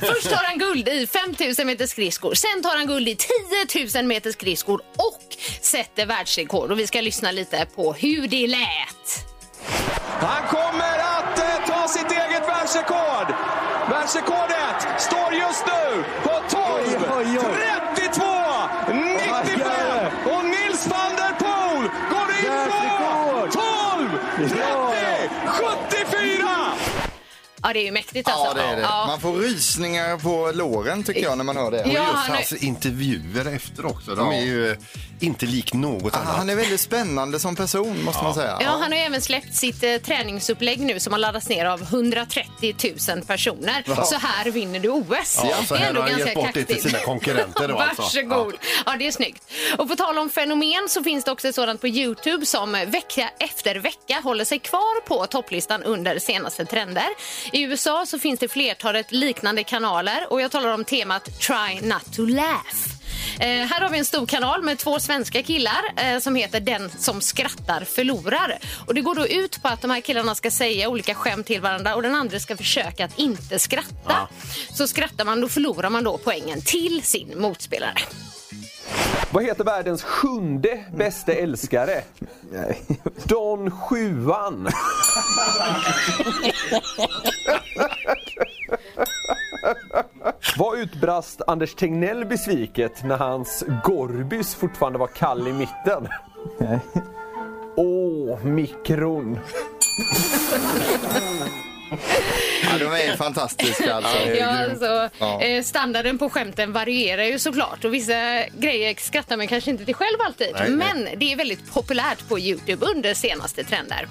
Speaker 5: Först tar han guld i 5000 meters skridskor, sen tar han guld i 10 000 meters skridskor och sätter världsrekord. Och vi ska lyssna lite på hur det lät.
Speaker 1: Han kommer att eh, ta sitt eget världsrekord! Världsrekordet står just nu på 12, 32, 95 och Nils van der Poel går in på 12, 30, 74!
Speaker 5: Ja, det är ju mäktigt alltså.
Speaker 4: ja, det är det.
Speaker 5: Ja.
Speaker 4: Man får rysningar på låren tycker jag när man hör det.
Speaker 5: Ja,
Speaker 6: Just
Speaker 5: han är-
Speaker 6: hans intervjuer efter också. De
Speaker 4: Ja.
Speaker 6: är ju eh, inte lik något
Speaker 4: Ah,
Speaker 6: annat.
Speaker 4: Han är väldigt spännande som person måste man säga.
Speaker 5: Ja, han har ju även släppt sitt eh, träningsupplägg nu som har laddats ner av 130 000 personer. Så här vinner du OS.
Speaker 6: Ja, så här har han gett bort det till sina konkurrenter då
Speaker 5: *laughs*
Speaker 6: alltså.
Speaker 5: Varsågod. Ja, det är snyggt. Och på tal om fenomen så finns det också ett sådant på Youtube som vecka efter vecka håller sig kvar på topplistan under senaste trender. I USA så finns det flertalet liknande kanaler och jag talar om temat Try Not To Laugh. Eh, här har vi en stor kanal med två svenska killar eh, som heter Den som skrattar förlorar. Och det går då ut på att de här killarna ska säga olika skämt till varandra och den andra ska försöka att inte skratta. Så skrattar man då förlorar man då poängen till sin motspelare.
Speaker 1: Vad heter världens sjunde bästa älskare? Don Sjuan. Vad utbrast Anders Tegnell besviket när hans Gorbys fortfarande var kall i mitten? Åh, mikron.
Speaker 4: Ja, de är fantastiska alltså.
Speaker 5: Ja, alltså,
Speaker 4: Ja.
Speaker 5: Eh, standarden på skämten varierar ju såklart och vissa grejer skrattar man kanske inte till själv alltid.
Speaker 6: Nej, nej.
Speaker 5: men det är väldigt populärt på Youtube under senaste trender.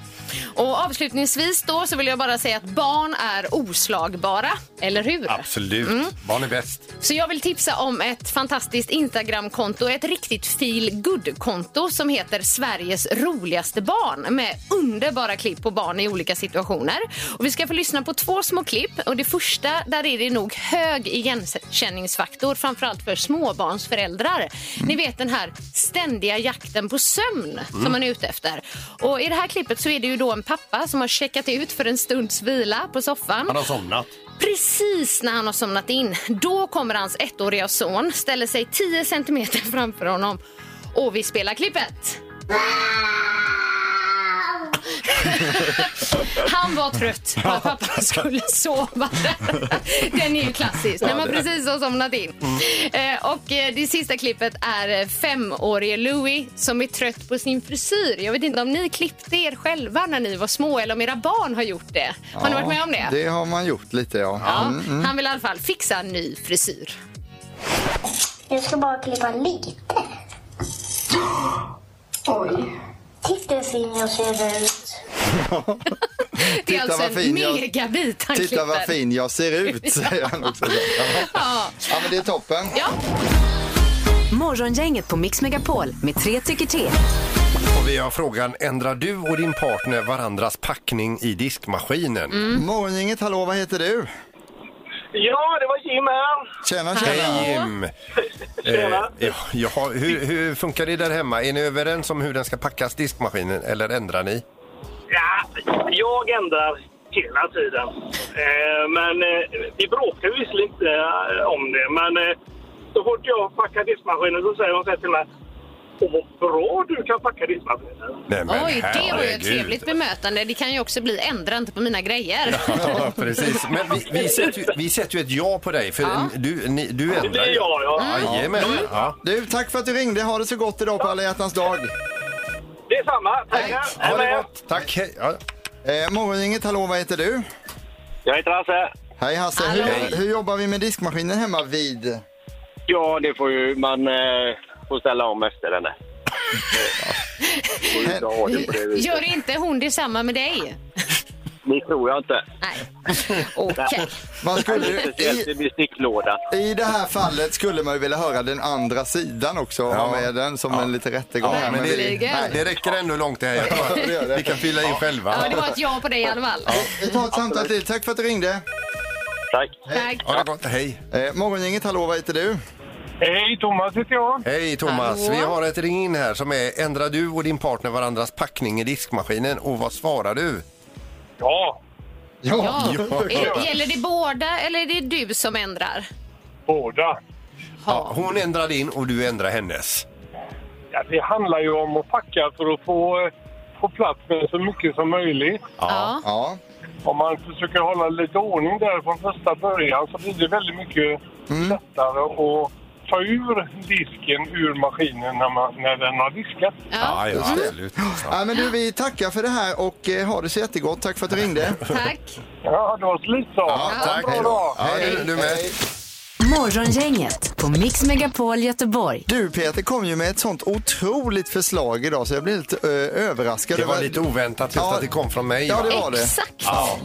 Speaker 5: Och avslutningsvis då så vill jag bara säga att barn är oslagbara, eller hur?
Speaker 6: Absolut.
Speaker 5: Mm.
Speaker 6: Barn är bäst.
Speaker 5: Så jag vill tipsa om ett fantastiskt Instagramkonto, ett riktigt feel good konto som heter Sveriges roligaste barn med underbara klipp på barn i olika situationer. Och vi ska få lyssna på två små klipp och det första där är det nog hög igenkänningsfaktor framförallt för småbarnsföräldrar. Ni
Speaker 6: Mm.
Speaker 5: vet den här ständiga jakten på sömn som man är ute efter. Och i det här klippet så är det ju då en pappa som har checkat ut för en stunds vila på soffan.
Speaker 6: Han har somnat.
Speaker 5: Precis när han har somnat in, då kommer hans ettåriga son, ställer sig 10 centimeter *laughs* framför honom och vi spelar klippet. Han var trött på att pappa skulle sova. Den är ju klassisk, när man precis har somnat in. Eh, Och eh, det sista klippet är eh, femårige Louis som är trött på sin frisyr. Jag vet inte om ni klippte er själva när ni var små eller om era barn har gjort det. Har ni varit med om det?
Speaker 4: Det har man gjort lite ja. Mm.
Speaker 5: Ja, Han vill i alla fall fixa en ny frisyr.
Speaker 1: Jag ska bara klippa lite. Oj. Titta hur fin jag ser ut.
Speaker 5: Det är
Speaker 4: Titta
Speaker 5: alltså
Speaker 4: vad
Speaker 5: en
Speaker 4: fin jag-
Speaker 5: megabit han
Speaker 4: Titta vad
Speaker 5: klipper.
Speaker 4: fin jag ser
Speaker 5: *laughs*
Speaker 4: ut, säger han också.
Speaker 5: Ja.
Speaker 4: Ja, men det är toppen.
Speaker 5: Ja.
Speaker 3: Morgongänget på Mix Megapol med tre tycker till.
Speaker 6: Och vi har frågan, ändrar du och din partner varandras packning i diskmaskinen?
Speaker 5: Mm.
Speaker 4: Morgongänget, hallå, vad heter du?
Speaker 8: Ja, det var Jim här.
Speaker 4: Tjena, tjena.
Speaker 6: Hej Jim! Eh, ja, ja, hur, hur funkar det där hemma? Är ni överens om hur den ska packas, diskmaskinen, eller ändrar ni?
Speaker 8: Ja, jag ändrar.
Speaker 12: hela tiden. Eh, men eh, vi bråkar visserligen inte eh, om det, men eh, så fort jag packar diskmaskinen så säger hon så här till mig Åh, vad bra du kan packa diskmaskinen.
Speaker 6: Nej,
Speaker 5: Oj, det var ju ett
Speaker 6: herregud.
Speaker 5: trevligt bemötande. Det kan ju också bli ändra inte på mina grejer.
Speaker 6: Ja, precis. Men vi, vi, sätter ju, vi sätter ju ett ja på dig, för
Speaker 5: Ja.
Speaker 6: du, ni, du ändrar
Speaker 12: Det är jag, ja.
Speaker 6: Mm. Jajamän. Ja.
Speaker 4: Du, tack för att du ringde. Ha det så gott idag på alla hjärtans dag.
Speaker 12: Det är samma. Tackar.
Speaker 6: Ha det gott. Tack. hej. Ja.
Speaker 4: Eh, Morgongänget, hallå, vad heter du?
Speaker 13: Jag heter Hasse.
Speaker 4: Hej Hasse,
Speaker 13: Hallå.
Speaker 4: hur, hur jobbar vi med diskmaskinen hemma vid?
Speaker 13: Ja, det får ju man eh, får ställa om efter den där. Får ju inte ha det på det viset.
Speaker 5: Gör inte hon detsamma med dig?
Speaker 13: Det tror jag inte.
Speaker 5: Nej. Okej.
Speaker 4: Vad skulle
Speaker 13: Det är
Speaker 4: du-
Speaker 13: speciellt i besticklådan.
Speaker 4: I det här fallet skulle man ju vilja höra den andra sidan också, ha med den som en liten rättegång.
Speaker 6: Ja, men det,
Speaker 5: Verkligen.
Speaker 6: nej, det räcker ändå långt det här. Vi kan fylla in själva.
Speaker 5: Ja, det var ett ja på dig i alla fall.
Speaker 4: Vi tar ett samtal till. Tack för att du ringde.
Speaker 13: Tack.
Speaker 5: Tack.
Speaker 6: Ha det gott. Hej.
Speaker 4: Eh, Morgongänget, hallå, vad heter du?
Speaker 12: Hej, Thomas heter jag.
Speaker 6: Hej Thomas,
Speaker 5: Hallå.
Speaker 6: vi har ett ring in här som är ändrar du och din partner varandras packning i diskmaskinen och vad svarar du?
Speaker 12: Ja,
Speaker 5: Ja. Är- Eh, Gäller det båda eller är det du som ändrar?
Speaker 12: båda.
Speaker 6: Ja, hon ändrar din och du ändrar hennes.
Speaker 12: Ja, det handlar ju om att packa för att få, eh, få plats med så mycket som möjligt.
Speaker 5: Ja.
Speaker 4: Ja.
Speaker 12: Om man försöker hålla lite ordning där från första början så blir det väldigt mycket lättare att ta ur disken ur maskinen när, man, när den har diskat.
Speaker 5: Ja. Mm.
Speaker 6: just det. Lut.
Speaker 4: Ja, men du, vi tackar för det här och eh, ha det så jättegott. Tack för att du ringde.
Speaker 5: Tack.
Speaker 12: Ja, det var slut så.
Speaker 6: Ja, tack.
Speaker 12: Bra dag.
Speaker 6: Ja, du, du med.
Speaker 3: Morgongänget på Mix Megapol Göteborg.
Speaker 4: Du Peter kom ju med ett sånt otroligt förslag idag så jag blev lite eh, överraskad.
Speaker 6: Det var
Speaker 4: över-
Speaker 6: lite oväntat just
Speaker 4: Ja.
Speaker 6: att det kom från mig.
Speaker 4: Ja,
Speaker 6: va?
Speaker 4: det var det.
Speaker 5: Exakt.
Speaker 6: Ja.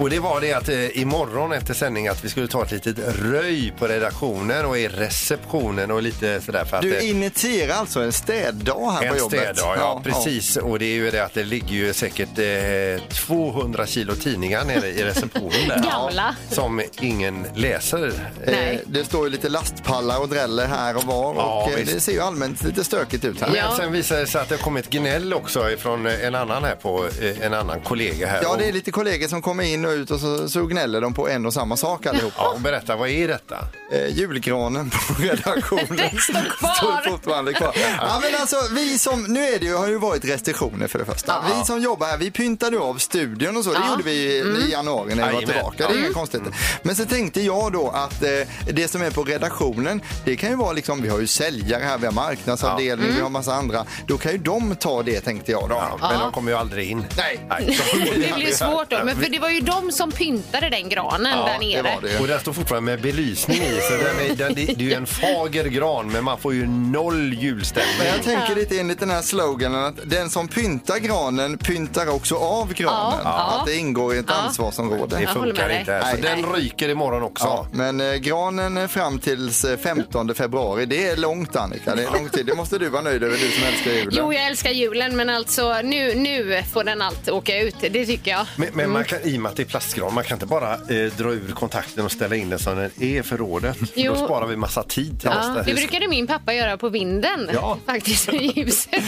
Speaker 6: Och det var det att eh, imorgon efter sändning att vi skulle ta ett litet röj på redaktionen och i receptionen och lite sådär för att
Speaker 4: Du
Speaker 6: eh,
Speaker 4: initierar alltså en städdag här på
Speaker 6: en
Speaker 4: jobbet?
Speaker 6: städdag, ja, precis. Och det är ju det att det ligger ju säkert eh, 200 kilo tidningar nere i receptionen där.
Speaker 5: *laughs* Gamla.
Speaker 6: Som ingen läser.
Speaker 4: Eh,
Speaker 5: Nej.
Speaker 4: Det står ju lite lastpallar och dräller här och var
Speaker 6: Ja,
Speaker 4: och eh,
Speaker 6: visst.
Speaker 4: det ser ju allmänt lite stökigt ut här.
Speaker 6: Men
Speaker 5: Ja.
Speaker 6: sen visade det sig att det har kommit gnäll också från en annan här på eh, en annan kollega här.
Speaker 4: Ja, det är lite kollegor som kommer in och ut och så, så gnäller de på en och samma sak allihopa.
Speaker 6: Ja, och berätta, vad är detta?
Speaker 4: Eh, julgranen på *laughs* redaktionen
Speaker 5: Den står kvar.
Speaker 4: fortfarande kvar. Ja, men alltså, vi som, nu är det ju, har ju varit restriktioner för det första. Vi som jobbar här, vi pyntade av studion och så. Det
Speaker 5: Ja. Mm.
Speaker 4: gjorde vi i januari när vi var
Speaker 6: Jajamän.
Speaker 4: tillbaka. Det är inga konstigheter. Men så tänkte jag då att eh, det som är på redaktionen, det kan ju vara liksom, vi har ju säljare här, vi har marknadsavdelning,
Speaker 5: Mm.
Speaker 4: vi har massa andra. Då kan ju de ta det tänkte jag då.
Speaker 6: Ja, men de kommer ju aldrig in.
Speaker 4: Nej.
Speaker 5: *laughs* Det blir svårt då. Men för det var ju de som pyntade den granen där
Speaker 4: det
Speaker 5: nere.
Speaker 4: var det.
Speaker 6: Och den står fortfarande med belysning i, så den är, den, det är ju
Speaker 5: *laughs*
Speaker 6: en fager gran, men man får ju noll
Speaker 4: Men
Speaker 6: julstämning.
Speaker 4: jag tänker lite enligt den här sloganen att den som pyntar granen pyntar också av granen.
Speaker 5: Ja.
Speaker 4: Att det ingår i ett ansvarsområde.
Speaker 6: Det
Speaker 5: Jag håller
Speaker 6: funkar
Speaker 5: med
Speaker 6: inte.
Speaker 5: dig.
Speaker 6: här. Så
Speaker 5: Nej.
Speaker 6: den ryker imorgon också.
Speaker 4: Ja, men eh, granen eh, fram tills eh, 15 februari, det är långt Annika. Det är lång tid. Det måste du vara nöjd över, du som älskar julen.
Speaker 5: Jo, jag älskar julen, men alltså nu, nu får den allt åka ut. Det tycker jag.
Speaker 6: Men, men
Speaker 5: Mm.
Speaker 6: man kan, i och med att det är plastgran, man kan inte bara eh, dra ur kontakten och ställa in den som den är i förrådet.
Speaker 5: Jo.
Speaker 6: Då sparar vi massa tid till
Speaker 5: Ja,
Speaker 6: nästa
Speaker 5: det
Speaker 6: hus.
Speaker 5: brukade min pappa göra på vinden.
Speaker 6: Ja.
Speaker 5: Faktiskt i
Speaker 6: *laughs*
Speaker 5: ljuset.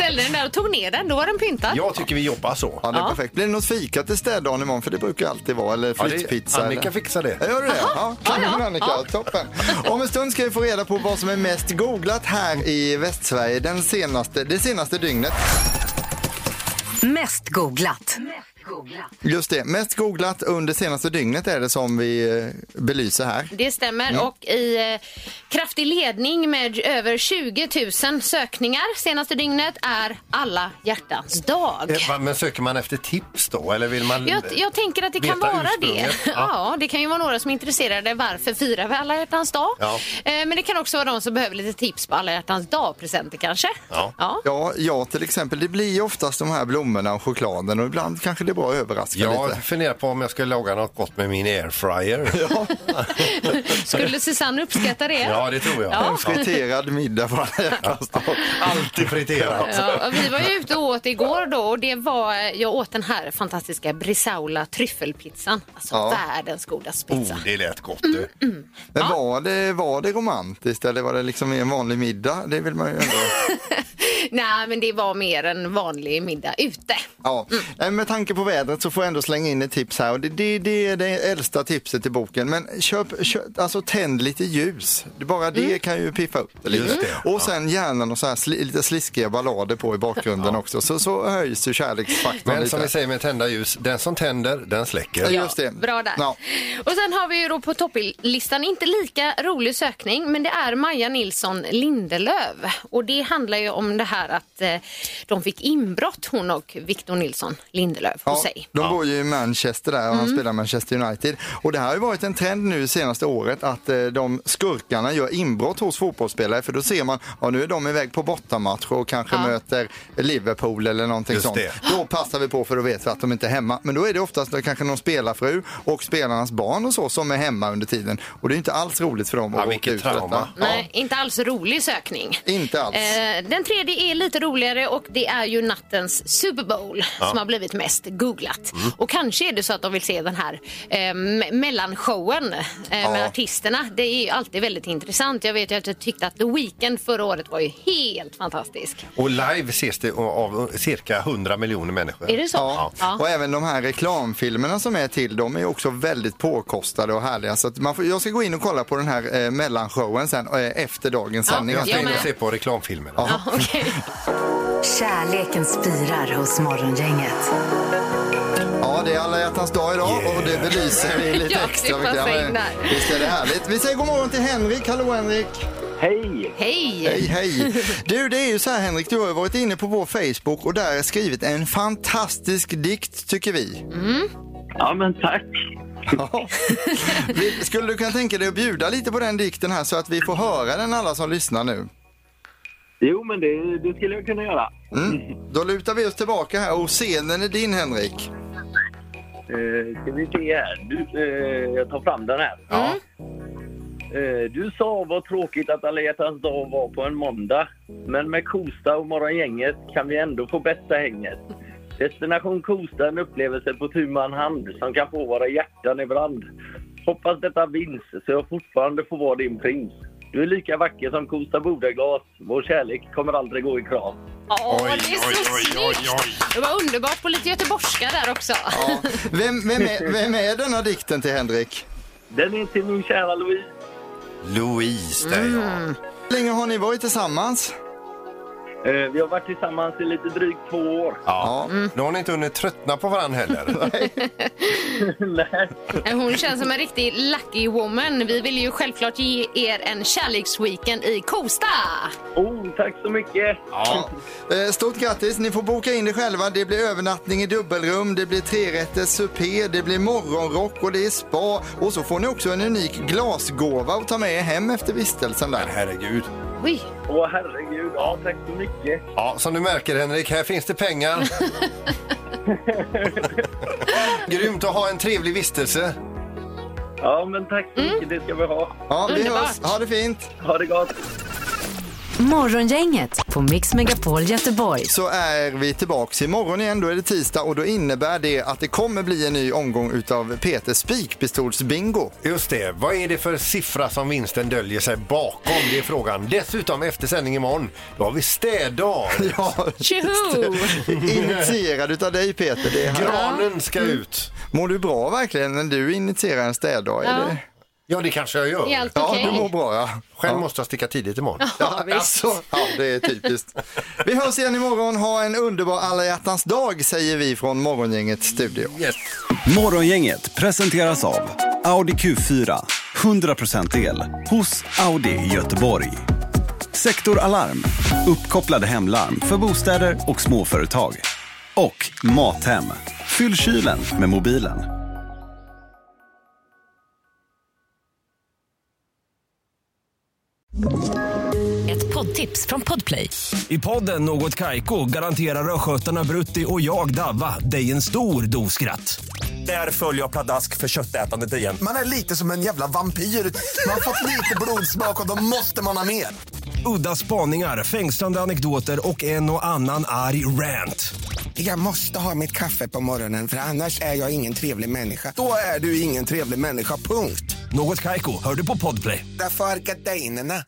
Speaker 5: Ställde den där och tog ner den. Då var den pyntad.
Speaker 6: Jag tycker vi jobbar så.
Speaker 4: Ja, det är
Speaker 5: Ja.
Speaker 4: perfekt. Blir det något fika till städdagen imorgon? För det brukar alltid vara. Eller
Speaker 6: Ja, det-
Speaker 4: flyttpizza.
Speaker 6: Annika
Speaker 4: eller...
Speaker 6: fixar det.
Speaker 4: Ja, Gör du det? Ja, kanon
Speaker 5: Ja, ja.
Speaker 4: Annika.
Speaker 5: Ja.
Speaker 4: Toppen. Om en stund ska vi få reda på vad som är mest googlat här i Västsverige den senaste, det senaste dygnet.
Speaker 3: Mest googlat.
Speaker 4: Just det, mest googlat under senaste dygnet är det som vi eh, belyser här.
Speaker 5: Det stämmer.
Speaker 6: Mm.
Speaker 5: Och i eh, kraftig ledning med över 20 000 sökningar senaste dygnet är alla hjärtans dag.
Speaker 6: Eh, va, Men söker man efter tips då? Eller vill man...
Speaker 5: Jag, jag tänker att det kan
Speaker 6: Veta
Speaker 5: vara *laughs*
Speaker 6: ursprunget.
Speaker 5: det.
Speaker 6: Ja.
Speaker 5: Ja, det kan ju vara några som är intresserade. Varför firar vi alla hjärtans dag?
Speaker 6: Ja.
Speaker 5: Eh, Men det kan också vara de som behöver lite tips på alla hjärtans dag-presenter kanske.
Speaker 6: Ja.
Speaker 4: Ja, ja, till exempel. Det blir ju oftast de här blommorna och chokladen och ibland kanske det är bra att överraska lite.
Speaker 6: Jag funderar på om jag ska laga något gott med min airfryer. Ja,
Speaker 5: Skulle Susanne
Speaker 6: *laughs*
Speaker 5: uppskatta det?
Speaker 6: det tror jag.
Speaker 5: Ja.
Speaker 4: En friterad middag på alla hjärtans dag.
Speaker 6: Alltid friterat.
Speaker 5: Ja, och vi var ju ute och åt igår då och det var, jag åt den här fantastiska Brisaula tryffelpizzan. Alltså
Speaker 4: Ja.
Speaker 5: världens godaste pizza.
Speaker 6: Oh, det lät gott du.
Speaker 4: Men var det, var det romantiskt eller var det liksom en vanlig middag? Det vill man ju ändå...
Speaker 5: Nej, men det var mer en vanlig middag ute.
Speaker 4: Ja. Eh, Med tanke på vädret så får jag ändå slänga in ett tips här. Och det, det, det är det äldsta tipset i boken. Men köp, köp, alltså tänd lite ljus. Det- Bara det kan ju piffa upp det lite.
Speaker 6: Just det,
Speaker 4: Och sen gärna och så här, sli, lite sliskiga ballader på i bakgrunden också. Så, så höjs ju kärleksfaktorn
Speaker 6: Men
Speaker 4: lite.
Speaker 6: som vi säger med tända ljus, den som tänder, den släcker.
Speaker 4: Ja, Just det.
Speaker 5: Bra där.
Speaker 4: Ja.
Speaker 5: Och sen har vi ju då på topplistan, inte lika rolig sökning, men det är Maja Nilsson Lindelöv. Och det handlar ju om det här att eh, de fick inbrott, hon och Victor Nilsson Lindelöv, hos sig. Mm.
Speaker 4: De bor ju i Manchester där och han spelar Manchester United. Och det här har ju varit en trend nu senaste året att eh, de skurkarna gör inbrott hos fotbollsspelare för då ser man, ja nu är de iväg på bortamatch och kanske
Speaker 5: Ja.
Speaker 4: möter Liverpool eller någonting
Speaker 6: Just
Speaker 4: sånt.
Speaker 6: det.
Speaker 4: Då passar vi på för då vet vi att de inte är hemma. Men då är det oftast då kanske någon spelarfru och spelarnas barn och så som är hemma under tiden. Och det är ju inte alls roligt för dem att
Speaker 6: Ja,
Speaker 4: åka
Speaker 6: vilket
Speaker 4: ut för
Speaker 6: trauma.
Speaker 4: detta.
Speaker 5: Nej, inte alls rolig sökning.
Speaker 4: Inte alls.
Speaker 5: Eh, den tredje är lite roligare och det är ju nattens Super Bowl
Speaker 4: Ja.
Speaker 5: som har blivit mest googlat. Och kanske är det så att de vill se den här eh, me- mellanshowen eh, med
Speaker 14: Ja.
Speaker 5: artisterna. Det är ju alltid väldigt intressant. Jag vet ju att jag tyckte att The Weeknd förra året var ju helt fantastisk.
Speaker 6: Och live ses det av cirka 100 miljoner människor.
Speaker 5: Är det så?
Speaker 4: Ja.
Speaker 5: Ja.
Speaker 4: Och även de här reklamfilmerna som är till, de är också väldigt påkostade och härliga. Så att man får, jag ska gå in och kolla på den här eh, mellanshowen sen, eh, efter dagens sändning.
Speaker 6: Jag ska in och se på reklamfilmerna.
Speaker 3: Kärleken spirar hos Morgongänget.
Speaker 4: Ja, det är alla hjärtans dag idag och det belyser vi lite
Speaker 3: Ja, det
Speaker 4: extra.
Speaker 3: passar
Speaker 4: vilka-
Speaker 3: in där.
Speaker 4: Visst är det härligt. Vi säger god morgon till Henrik. Hallå Henrik!
Speaker 11: Hej!
Speaker 5: Hej!
Speaker 4: Hej, hej! Du, det är ju så här Henrik, du har ju varit inne på vår Facebook och där skrivit en fantastisk dikt tycker vi.
Speaker 11: Ja, men tack.
Speaker 4: *laughs* Vi- Skulle du kunna tänka dig att bjuda lite på den dikten här så att vi får höra den alla som lyssnar nu?
Speaker 11: Jo, men det, det skulle jag kunna göra.
Speaker 4: Mm. Då lutar vi oss tillbaka här och scenen är din Henrik.
Speaker 11: Eh, ska vi se här. Du, eh, jag tar fram den här. Eh, du sa vad tråkigt att alla hjärtans dag var på en måndag. Men med Kosta och Morgongänget kan vi ändå få bästa hänget. Destination Kosta är en upplevelse på tu man hand som kan få våra hjärtan i brand. Hoppas detta vinns så jag fortfarande får vara din prins. Du är lika vacker som Kosta Bodaglas. Vår kärlek kommer aldrig gå i kras.
Speaker 5: Åh,
Speaker 11: Oj,
Speaker 5: det är så
Speaker 11: oj, oj,
Speaker 5: snyggt!
Speaker 11: oj, oj.
Speaker 5: Det var underbart på lite göteborgska där också.
Speaker 4: *laughs* Vem, vem, är, vem är denna dikten till Henrik?
Speaker 11: Den är till min kära Louise.
Speaker 6: Louise, där ja.
Speaker 4: Hur länge har ni varit tillsammans?
Speaker 11: Eh, Vi har varit tillsammans i lite drygt två år. *laughs*
Speaker 6: Ja. Nu har ni inte hunnit tröttna på varandra heller.
Speaker 5: Eh, Hon känns som en riktig lucky woman. Vi vill ju självklart ge er en kärleksweekend i Kosta.
Speaker 11: Oh, tack så mycket!
Speaker 4: Ja. *laughs* Eh, Stort grattis, ni får boka in det själva. Det blir övernattning i dubbelrum, det blir trerätters supé, det blir morgonrock och det är spa. Och så får ni också en unik glasgåva att ta med er hem efter vistelsen där.
Speaker 6: Herregud.
Speaker 5: Oj.
Speaker 11: Åh, herregud. Ja, tack så mycket.
Speaker 6: Ja, som du märker Henrik, här finns det pengar. Grymt att ha en trevlig vistelse.
Speaker 11: Ja, men tack så mycket. Det ska vi ha.
Speaker 4: Ja,
Speaker 3: vi Underbart. hörs.
Speaker 4: Ha det fint.
Speaker 11: Ha det gott.
Speaker 3: Morgongänget på Mix Megapol Göteborg.
Speaker 4: Så är vi tillbaks imorgon igen, då är det tisdag och då innebär det att det kommer bli en ny omgång utav Peters spikpistolsbingo.
Speaker 6: Just det, vad är det för siffra som vinsten döljer sig bakom? Det är frågan. Dessutom efter sändning imorgon, då har vi städdag.
Speaker 4: Ja, Initierad utav dig Peter. Det är här.
Speaker 6: Granen ska ut.
Speaker 4: Mår du bra verkligen när du initierar en städdag?
Speaker 5: Ja.
Speaker 4: Eller?
Speaker 6: Ja, det kanske jag gör.
Speaker 5: Är allt
Speaker 4: ja,
Speaker 5: okej?
Speaker 4: du mår bra. Ja.
Speaker 6: Själv
Speaker 4: ja.
Speaker 6: måste jag sticka tidigt imorgon.
Speaker 4: Ja, alltså, ja, det är typiskt. Vi hörs igen imorgon. Ha en underbar alla hjärtans dag säger vi från Morgongängets studio.
Speaker 15: Morgongänget presenteras av Audi Q4. 100% el hos Audi i Göteborg. Sektor Alarm. Uppkopplade hemlarm för bostäder och småföretag. Och Mathem. Fyll kylen med mobilen.
Speaker 16: Ett poddtips från Podplay. I podden Något Kaiko garanterar östgötarna Brutti och jag, Davva, dig en stor dos skratt. Där följer jag pladask för köttätandet igen.
Speaker 17: Man är lite som en jävla vampyr. Man har fått lite blodsmak och då måste man ha mer.
Speaker 16: Udda spaningar, fängslande anekdoter och en och annan arg rant.
Speaker 17: Jag måste ha mitt kaffe på morgonen för annars är jag ingen trevlig människa. Då är du ingen trevlig människa, punkt.
Speaker 16: Något Kaiko, hör du på Podplay.
Speaker 17: Därför arkadeinerna.